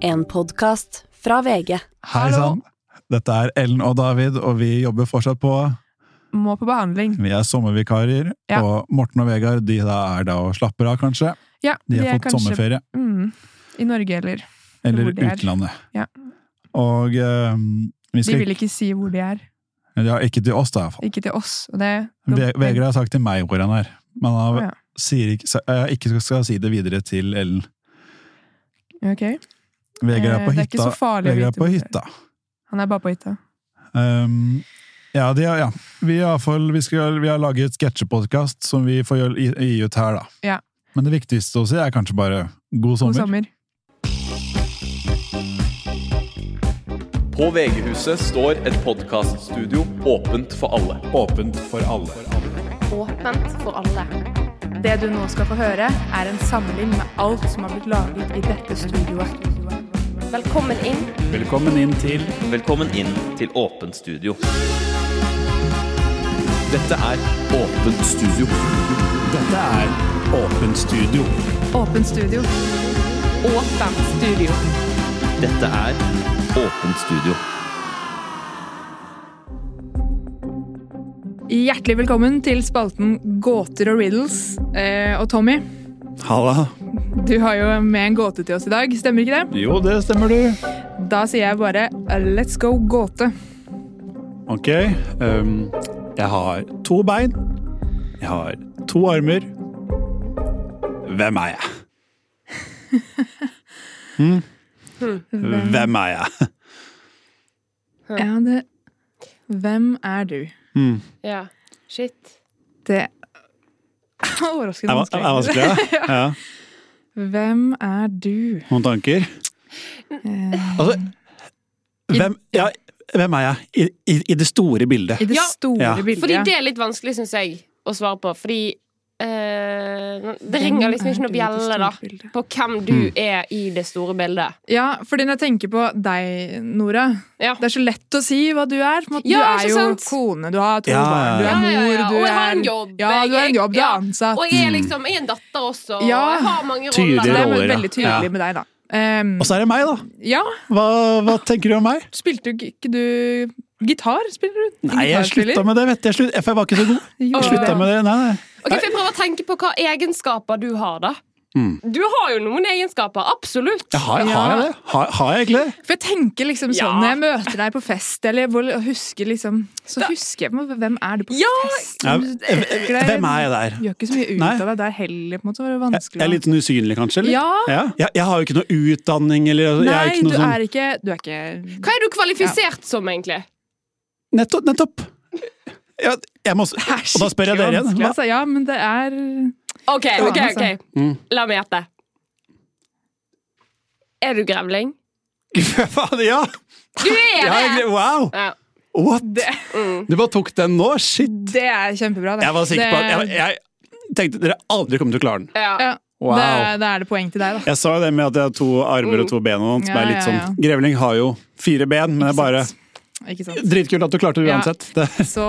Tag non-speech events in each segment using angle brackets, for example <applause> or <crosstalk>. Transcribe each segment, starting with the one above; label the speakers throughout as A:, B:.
A: En podkast fra VG.
B: Hei sann! Dette er Ellen og David, og vi jobber fortsatt på.
C: Må på behandling.
B: Vi er sommervikarer,
C: Ja.
B: og Morten og Vegard de da er da og slapper av, kanskje.
C: Ja,
B: De
C: det
B: har
C: er
B: fått sommerferie,
C: Mm, I Norge, eller.
B: eller
C: hvor de er.
B: utlandet.
C: Ja.
B: Og eh, vi
C: De
B: skal
C: vil ikke si hvor de er.
B: ja, Ikke til oss, da, iallfall.
C: Ikke til oss. Og det,
B: Ve Vegard har sagt til meg hvor han er, men han
C: Å, ja.
B: sier ikke, sa- jeg ikke skal- skal si det videre til Ellen.
C: Ok.
B: Vegard er på
C: Eh, det er ikke så
B: hytta.
C: farlig å
B: Vegard er
C: vite
B: på
C: hvor-
B: hytta.
C: Han er bare på hytta.
B: Um, ja, de, har- ja. Vi, er i hvert fall, vi, skal, vi har laget sketsjepodkast som vi får gjøre- gi, gi ut her, da.
C: Ja.
B: Men det viktigste å si er kanskje bare god
C: God
B: sommer.
C: sommer.
D: På VG-huset står et podkaststudio åpent for alle. Åpent for alle.
E: åpent for alle.
F: Det du nå skal få høre, er en samling med alt som har blitt laget i dette studioet.
E: Velkommen inn.
D: Velkommen inn til Velkommen inn til Åpent studio. Dette er Åpent studio. Dette er Åpent studio.
F: Åpen studio.
E: Åpent studio.
D: Dette er Åpent studio.
C: Hjertelig velkommen til spalten Gåter og riddles. Eh, og Tommy,
B: Halla.
C: du har jo med en gåte til oss i dag, stemmer ikke det?
B: Jo, det stemmer, du.
C: Da sier jeg bare let's go gåte.
B: Ok. Um, jeg har to bein. Jeg har to armer. Hvem er jeg? Hmm? Hvem er jeg?
C: Ja, det Hvem er du?
E: Ja. Shit.
C: Det Overraskende
B: Er va- er
C: vanskelig.
B: vanskelig, ja.
C: <laughs>
B: ja.
C: Hvem er du?
B: Noen tanker? Altså, hvem, ja, hvem er jeg I, i, i det store bildet?
C: I det
E: Ja,
C: store
B: ja.
C: bildet.
E: Fordi det er litt vanskelig, syns jeg, å svare på. Fordi eh, det
C: Hvem
E: ringer liksom
C: er Mm.
E: ikke noe
C: du i det
E: bjelle,
C: store
E: da.
C: bildet?
E: På hvem du er i det store bildet.
C: Ja, fordi når jeg tenker på deg, Nora
E: Ja.
C: Det er så lett å si hva du er. På en måte.
E: Ja,
C: du
E: ikke
C: er jo
E: sant?
C: kone, du har to
B: Ja, ja,
C: barn, du
B: ja.
C: er mor,
E: Ja, ja, ja.
C: du
E: Og
C: er
E: jeg har en jobb.
C: Ja, du har en jobb, du
E: Ja.
C: er ansatt. Mm.
E: Og jeg er liksom jeg er en datter også. og
C: Ja.
E: Jeg har mange
B: Tydelig
C: Det
E: roller.
C: er
B: roller, ja.
C: veldig tydelig
B: Ja.
C: med deg, da. Ehm,
B: Og så er det meg, da.
C: ja,
B: Hva, hva tenker du om meg?
C: spilte du ikke du gitar? Spiller du?
B: Nei, jeg slutta med det, vet du. Jeg, slutt, jeg var ikke så <laughs> god. Jeg slutta med det. Nei, nei.
E: Ok, for Jeg prøver å tenke på hva egenskaper du har, da.
B: Mm.
E: Du har jo noen egenskaper, absolutt.
B: Jeg har, har jeg det? Har, har jeg egentlig det?
C: For jeg tenker liksom sånn
E: Ja.
C: når jeg møter deg på fest, eller hvor, og husker liksom Så husker jeg på en måte, hvem er du på
E: Ja,
C: fest?
B: Ja, eh,
C: Du tenker deg-
B: Hvem er jeg der?
C: Gjør ikke så mye ut
B: Nei.
C: av deg der heller, på en måte. Det var
B: Jeg,
C: vanskelig.
B: jeg er litt sånn usynlig, kanskje? Eller?
C: Ja.
B: Jeg, jeg har jo ikke noe utdanning, eller jeg er
C: Nei,
B: ikke
C: du
B: noe sånn
C: er ikke Du er ikke
E: Hva er du kvalifisert som, egentlig?
B: Nettopp! nettopp. Ja, jeg må, s- og da spør jeg dere igjen.
C: Vanskelig,
B: Hva?
C: altså. Ja, men det er
E: Ok, ok,
C: Ja, altså.
E: ok.
B: Mm.
E: La meg gjette. Er du grevling?
B: <laughs> Faen, altså. ja! mm.
E: Du er
B: Jeg,
E: det!
B: har egentlig- wow!
E: Ja.
B: What? Du bare tok den nå? Shit!
C: Det er kjempebra, det.
B: Jeg var sikker
C: det,
B: på at jeg, jeg tenkte dere aldri kommer til å klare den.
E: Ja.
C: ja,
B: Wow.
C: det, da er det poeng til deg, da.
B: Jeg sa jo det med at jeg har to armer og to ben. og noe, som
C: Ja,
B: er litt
C: ja,
B: sånn,
C: ja.
B: Grevling har jo fire ben, men det er bare
C: Ikke sant?
B: dritkult at du klarte det
C: Ja.
B: uansett. Det,
C: Så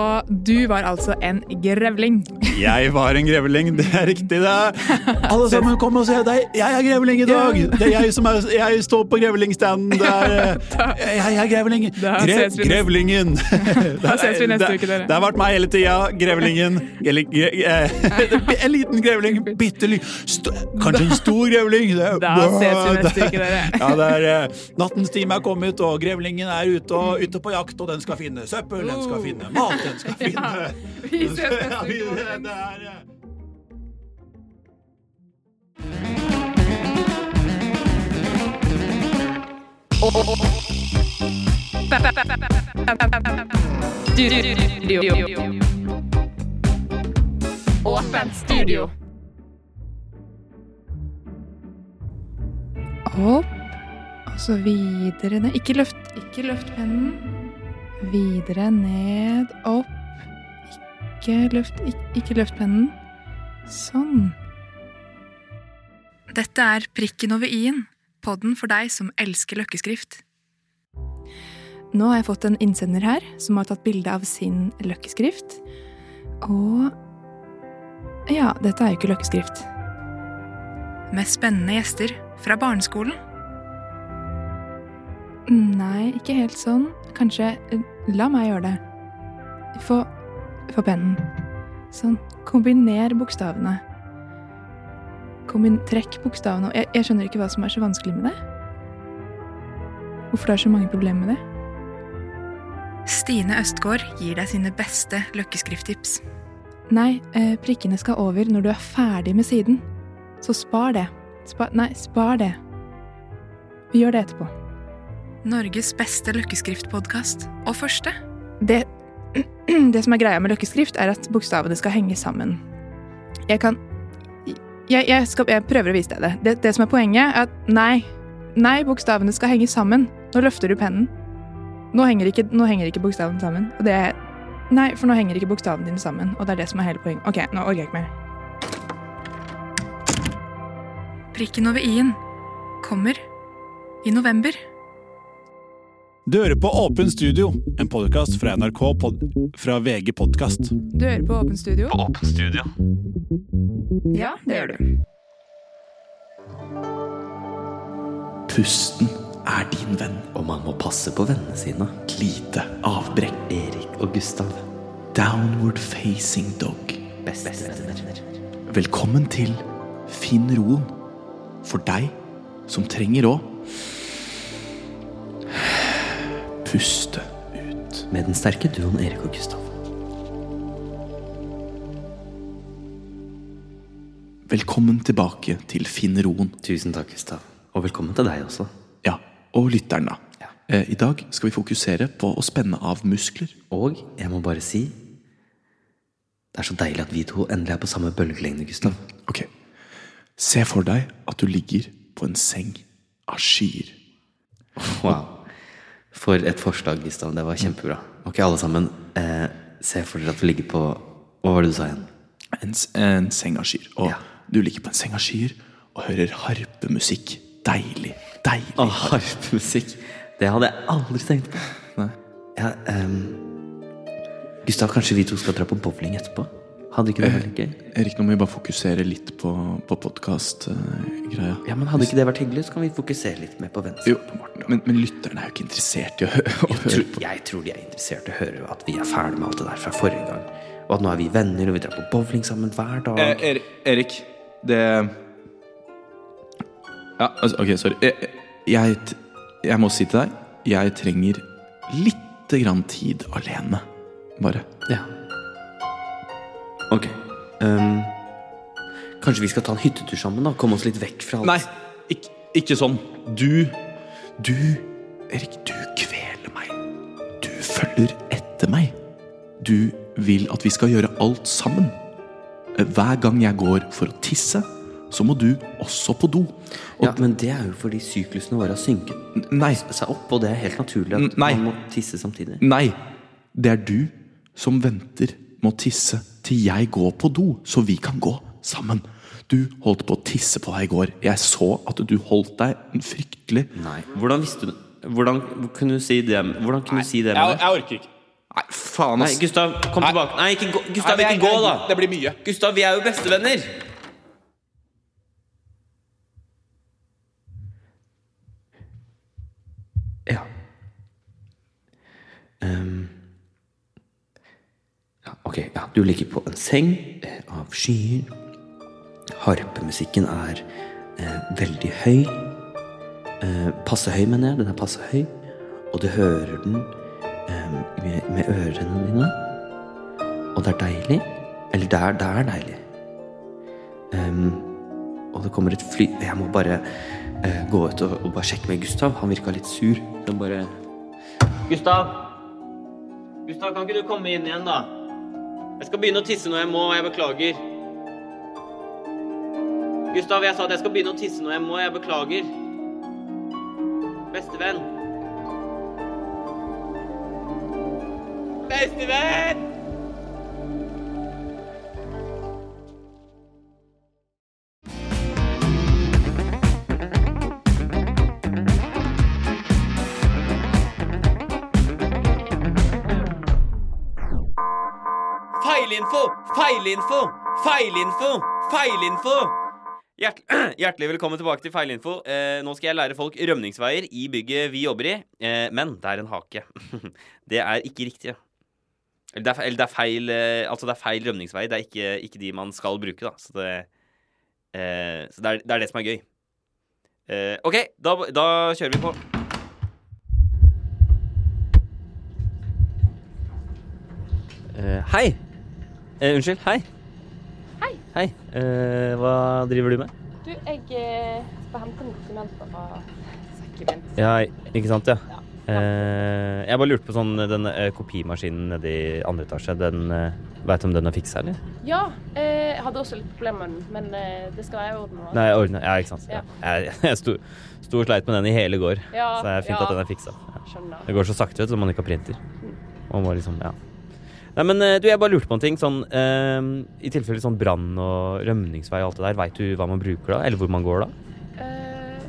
C: du var altså en grevling.
B: jeg var en grevling, det er riktig, det. Alle sammen, kom og se deg! Jeg er grevling i dag! Det er jeg som er, jeg står på
C: <laughs>
B: grevlingstanden. Det er, eh, jeg er grevling.
C: Da
B: Gre
C: ses vi neste- <laughs>
B: grevlingen! Da
C: ses vi neste uke, dere.
B: Det har vært meg hele tida. Grevlingen. Eller gre eh, <laughs> En liten grevling. Bitte liten. Kanskje en stor grevling. Det er-
C: Da ses vi neste uke, dere.
B: <laughs> Ja, det er eh, Nattens time er kommet, og grevlingen er ute, og, ute på jakt, og den skal finne søppel, den skal finne mat, den skal finne
C: Vi ses neste
B: Ja,
C: uke,
B: vi- det
C: folkens.
B: er, eh,
E: Åpent studio.
C: Opp, og så videre ned. Ikke løft, ikke løft pennen. Videre ned, opp. Ikke løft, ikke, ikke løft pennen. Sånn. Dette er Prikken over i-en, podden for deg som elsker løkkeskrift. Nå har jeg fått en innsender her som har tatt bilde av sin løkkeskrift. Og Ja, dette er jo ikke løkkeskrift med spennende gjester fra barneskolen. Nei, ikke helt sånn. Kanskje eh, La meg gjøre det. Få Få pennen. Sånn. Kombiner bokstavene. Kombin trekk bokstavene og jeg, jeg skjønner ikke hva som er så vanskelig med det. Hvorfor det er så mange problemer med det. Stine Østgaard gir deg sine beste løkkeskrifttips. Nei, eh, prikkene skal over når du er ferdig med siden. Så spar det. Spa, nei, spar det. Vi gjør det etterpå. Norges beste løkkeskriftpodkast. Og første. Det, <clears throat> det som er greia med løkkeskrift, er at bokstavene skal henge sammen. Jeg kan Jeg, jeg, skal, jeg prøver å vise deg det. det. Det som er poenget, er at nei. Nei, bokstavene skal henge sammen. Nå løfter du pennen. Nå henger ikke, nå henger ikke bokstaven sammen. Og det er Nei, for nå henger ikke bokstavene dine sammen. Og det er det som er hele poenget. Ok, nå orker jeg ikke mer. Prikken over i-en kommer i november.
B: Du hører på Åpen studio, en podkast fra NRK pod fra VG podkast.
F: Du hører på Åpen studio. På Åpen studio. Ja, det gjør du.
G: Pusten er din venn, og man må passe på vennene sine. Lite avbrekk. Erik og Gustav.
H: Downward Facing Dog.
G: Bestevenner.
H: Velkommen til Finn roen. For deg som trenger å puste ut.
G: Med den sterke duoen Erik og Gustav.
H: Velkommen tilbake til Finn roen.
G: Tusen takk, Gustav. Og velkommen til deg også.
H: Ja, og lytteren, da.
G: Ja.
H: Eh, I dag skal vi fokusere på å spenne av muskler.
G: Og jeg må bare si Det er så deilig at vi to endelig er på samme bølgelengde, Gustav.
H: Ok. Se for deg at du ligger på en seng av skyer.
G: Wow. For et forslag, Gustav. Det var kjempebra. Ok, alle sammen. Eh, se for dere at vi ligger på Hva var det du sa igjen?
H: En, s- en seng av skyer. Og
G: Ja.
H: du ligger på en seng av skyer og hører harpemusikk. Deilig. Deilig.
G: Å, harpemusikk. Det hadde jeg aldri tenkt på. Ja, ehm, Gustav, kanskje vi to skal dra på bowling etterpå? Hadde ikke det vært gøy?
H: Erik, nå må vi bare fokusere litt på, på podkast-greia.
G: Ja, men Hadde ikke det vært hyggelig, så kan vi fokusere litt mer på vennskap.
H: Jo, men, men lytterne er jo ikke interessert i å, hø å høre
G: Tro-
H: på.
G: Jeg tror de er interessert i å høre at vi er ferdig med alt det der fra forrige gang. Og at nå er vi venner, og vi drar på bowling sammen hver dag.
H: Eh, Erik, det Ja, altså, ok, sorry. Jeg, jeg, t- jeg må si til deg, jeg trenger lite grann tid alene. Bare.
G: Ja. Ok. ehm, kanskje vi skal ta en hyttetur sammen? da Komme oss litt vekk fra alt.
H: Nei, ikke, ikke sånn. Du Du, Erik, du kveler meg. Du følger etter meg. Du vil at vi skal gjøre alt sammen. Eh, Hver gang jeg går for å tisse, så må du også på do. Og
G: Ja, men det er jo fordi syklusene våre har synket
H: nei,
G: seg opp, og det er helt naturlig at
H: N- nei.
G: man må tisse samtidig.
H: nei. Det er du som venter med å tisse til jeg går på do, så vi kan gå sammen. Du holdt på å tisse på deg i går. Jeg så at du holdt deg fryktelig
G: Nei. Hvordan visste du Hvordan kunne du si det, hvordan kunne du si det med det?
H: orker ikke. Nei, faen,
G: Nei, Gustav, kom tilbake. Nei, ikke gå, Gustav, ikke gå, da!
H: Det blir mye.
G: Gustav, vi er jo bestevenner! Ja. Ehm. ja ok, ja, du ligger på en seng eh, av skyer. Harpemusikken er eh, veldig høy. Eh, passe høy, mener jeg. Den er passe høy. Og du hører den eh, med, med ørene dine. Og det er deilig. Eller det er, det er deilig. Ehm, og det kommer et fly Jeg må bare eh, gå ut og, og bare sjekke med Gustav. Han virka litt sur. Han bare
I: Gustav! Gustav, kan ikke du komme inn igjen, da? Jeg skal begynne å tisse når jeg må, og jeg beklager. Gustav, jeg sa at jeg skal begynne å tisse når jeg må, og jeg beklager. Bestevenn. Bestevenn! Feilinfo! Feilinfo! Feilinfo! Feilinfo! Hjert <clears throat> hjertelig velkommen tilbake til Feilinfo. Eh, nå skal jeg lære folk rømningsveier i bygget vi jobber i. Eh, men det er en hake. <laughs> det er ikke riktige. Eller det er, fe- eller det er feil eh, Altså det er feil rømningsveier. Det er ikke, ikke de man skal bruke, da. Så det, eh, så det, er, det er det som er gøy. Eh, OK, da, da kjører vi på.
J: Eh, hei! Eh, unnskyld, hei.
E: Hei.
J: Hei. Eh, hva driver du med?
E: Du, jeg eh, skal hente noen dokumenter fra sekken min.
J: Ja, ikke sant, ja. Eh, jeg bare lurte på sånn den eh, kopimaskinen nede i andre etasje. Den eh, Veit du om den er fiksa, eller?
E: Ja, eh, jeg hadde også litt problemer med den, men eh, det skal jeg ordne. nå.
J: Nei, jeg ordner Ja, ikke sant. Ja. Jeg, <laughs> jeg sto, sto og sleit med den i hele går,
E: Ja,
J: så det er fint
E: ja.
J: at den er fiksa. Ja.
E: Skjønner.
J: Det går så sakte, vet du, når man ikke har printer.
E: Mm.
J: Man må liksom, ja. Nei, men eh, du, jeg bare lurte på en ting. Sånn, eh, I tilfelle sånn brann og rømningsvei og alt det der, veit du hva man bruker da? Eller hvor man går da?
E: Eh,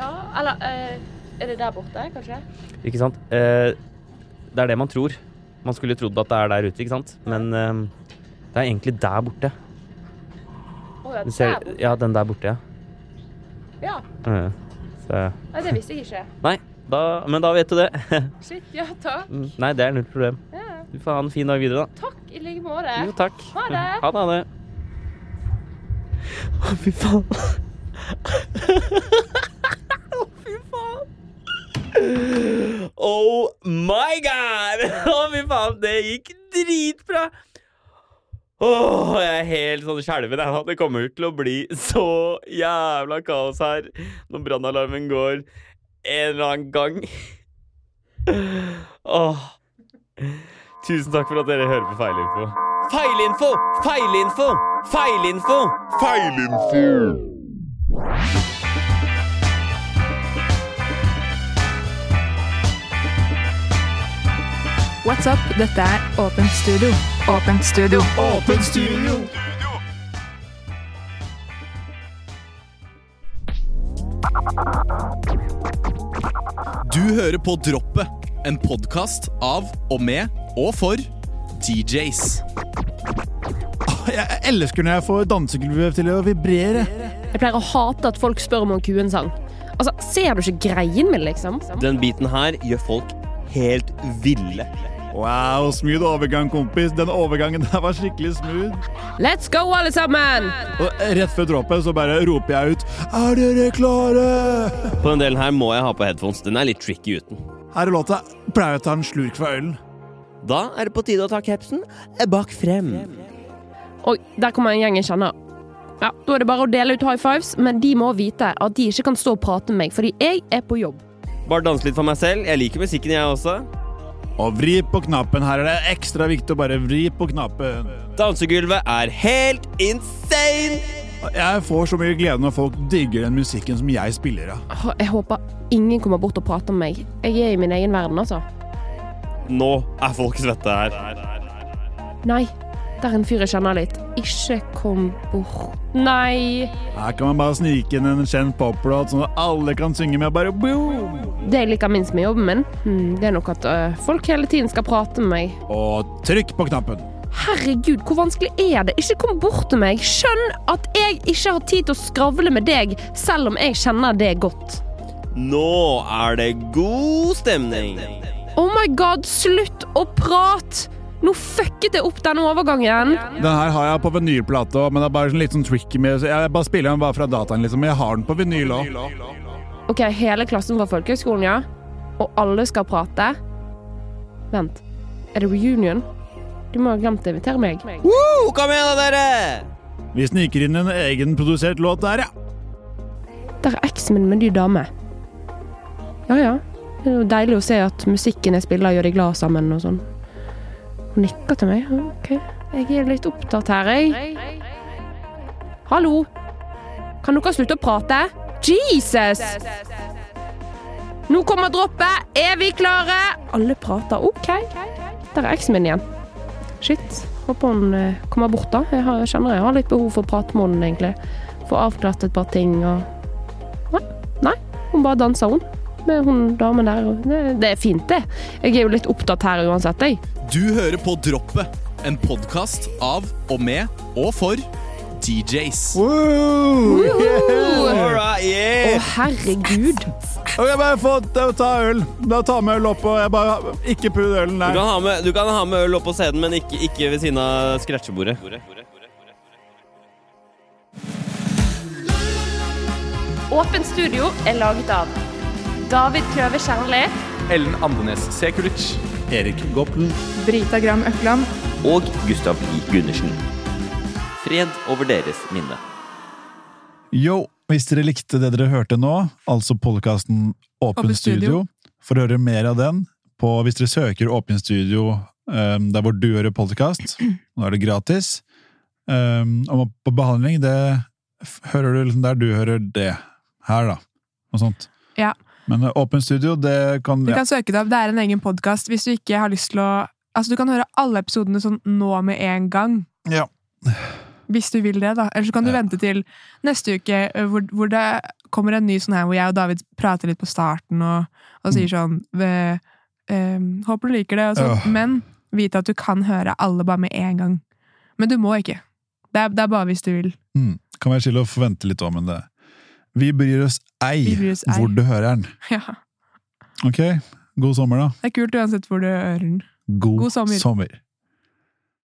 E: ja, eller eh, Er det der borte, kanskje?
J: Ikke sant? Eh, det er det man tror. Man skulle trodd at det er der ute, ikke sant? Men eh, det er egentlig der borte.
E: Å ja,
J: Du ser,
E: der borte.
J: ja, den der borte, ja.
E: Ja.
J: Eh, så,
E: Nei, det visste jeg ikke.
J: nei, da, men da vet du det.
E: Shit, ja, takk.
J: Mm, nei, det er null problem.
E: Ja.
J: Du får ha en fin dag videre, da.
E: Takk i like måte.
J: Jo, takk.
E: Ha det.
J: Ha det, ha det.
K: Å, fy faen.
J: <laughs> Oh my god! Å, fy faen, det gikk dritbra! Åh, jeg er helt sånn skjelven. jeg nå. Det kommer til å bli så jævla kaos her når brannalarmen går en eller annen gang. Åh. Tusen takk for at dere hører på Feilinfo. Feilinfo! Feilinfo! Feilinfo! Feilinfo!
F: What's up? Dette er Åpent studio. Åpent studio. Åpent studio.
H: Du hører på Droppet, en podkast av og med og for DJs.
B: Jeg elsker når jeg får dansegulvet til å vibrere.
E: Jeg pleier å hate at folk spør meg om kuen sang. Altså, Ser du ikke greien min, liksom?
L: Den biten her gjør folk helt ville.
B: Wow, smooth overgang, kompis. Den overgangen der var skikkelig smooth.
E: Let's go, alle sammen!
B: Og rett før dråpen så bare roper jeg ut Er dere klare?
L: På den delen her må jeg ha på headphones. Den er litt tricky uten.
B: Her er låta. Pleier jeg å ta en slurk fra ølen.
L: Da er det på tide å ta capsen bak frem.
E: Og der kommer en gjeng jeg kjenner. Ja, Da er det bare å dele ut high fives, men de må vite at de ikke kan stå og prate med meg, fordi jeg er på jobb.
L: Bare danse litt for meg selv. Jeg liker musikken, jeg også.
B: Og vri på knappen. Her er det ekstra viktig å bare vri på knappen.
L: Dansegulvet er helt insane!
B: Jeg får så mye glede når folk digger den musikken som jeg spiller av.
E: Åh, Jeg håper ingen kommer bort og prater med meg. Jeg er i min egen verden, altså.
L: Nå er folk svette her.
E: Nei, der er en fyr jeg kjenner litt. Ikke kom bort. Nei.
B: Her kan man bare snike inn en kjent poplåt sånn at alle kan synge med. Bare boom!
E: Det jeg liker minst med jobben min, hmm, det er nok at øh, folk hele tiden skal prate med meg.
B: Og trykk på knappen.
E: Herregud, hvor vanskelig er det? Ikke kom bort til meg. Skjønn at jeg ikke har tid til å skravle med deg, selv om jeg kjenner deg godt.
L: Nå er det god stemning.
E: Oh my god, slutt å prate! Nå fucket jeg opp den overgangen.
B: Den her har jeg på vinylplate òg, men det er bare sånn litt sånn tricky med Jeg bare spiller den bare fra dataen, liksom. Men jeg har den på vinyl òg.
E: Ok, hele klassen fra folkehøgskolen, ja. Og alle skal prate. Vent, er det reunion? Du må ha glemt å invitere meg.
L: Woo, kom igjen da, dere!
B: Vi sniker inn en egenprodusert låt der, ja.
E: Der er eksen min med en ny dame. Ja, ja. Det er jo deilig å se at musikken jeg spiller, gjør deg glad sammen og sånn. Hun nikker til meg. Ok, jeg er litt opptatt her, jeg. Hallo! Kan dere slutte å prate? Jesus! Nå kommer droppet! Er vi klare? Alle prater. OK. Der er eksen min igjen. Shit. Håper hun eh, kommer bort, da. Jeg har, kjenner jeg har litt behov for å prate med henne, egentlig. Få avklart et par ting og Nei. Nei. Hun bare danser, hun. Med hun damen der. og Det, det er fint, det. Jeg er jo litt opptatt her uansett, jeg.
H: Du hører på Droppet, en podkast av og med og for DJs.
B: Woo!
L: All right, yeah.
E: Å, herregud.
B: Og jeg bare får ta- ta øl. Da tar vi øl opp, og jeg bare Ikke putt ølen
L: Du
B: der.
L: kan, ha med, du kan ha med øl oppå scenen, men ikke, ikke ved siden av scratchebordet.
E: Åpent studio er laget av David Kløve Kjernli.
H: Ellen Andenes Sekulic.
B: Erik Goppel.
C: Brita Gram Økland.
D: Og Gustav I. Gundersen. Fred over deres minne.
B: Yo, hvis dere likte det dere hørte nå, altså podkasten Åpen
C: Åpen
B: Studio,
C: Studio.
B: for å høre mer av den, på, hvis dere søker Åpen Studio um, der hvor du hører podkast, nå er det gratis, um, og på behandling, det f- hører du liksom der du hører det. Her, da. Noe sånt.
C: Ja.
B: Men uh, Åpen Studio, det kan
C: Du
B: ja.
C: kan søke deg opp. Det er en egen podkast hvis du ikke har lyst til å Altså, du kan høre alle episodene sånn nå med en gang.
B: Ja.
C: Hvis du vil det, da. Eller så kan du vente til neste uke, ø, hvor, hvor det kommer en ny sånn her hvor jeg og David prater litt på starten og, og
B: Mm.
C: sier sånn «Ve- em, Håper du liker det, og sånn.
B: Ja.
C: Men vite at du kan høre alle bare med en gang. Men du må ikke. Det er, det er bare hvis du vil.
B: Mm. Kan være chill å forvente litt om men det. Vi bryr oss ei
C: Vi bryr oss ei.
B: hvor du hører den.
C: <laughs> Ja.
B: Ok? God sommer, da.
C: Det er kult uansett hvor du hører den.
B: God,
C: God sommer.
B: sommer.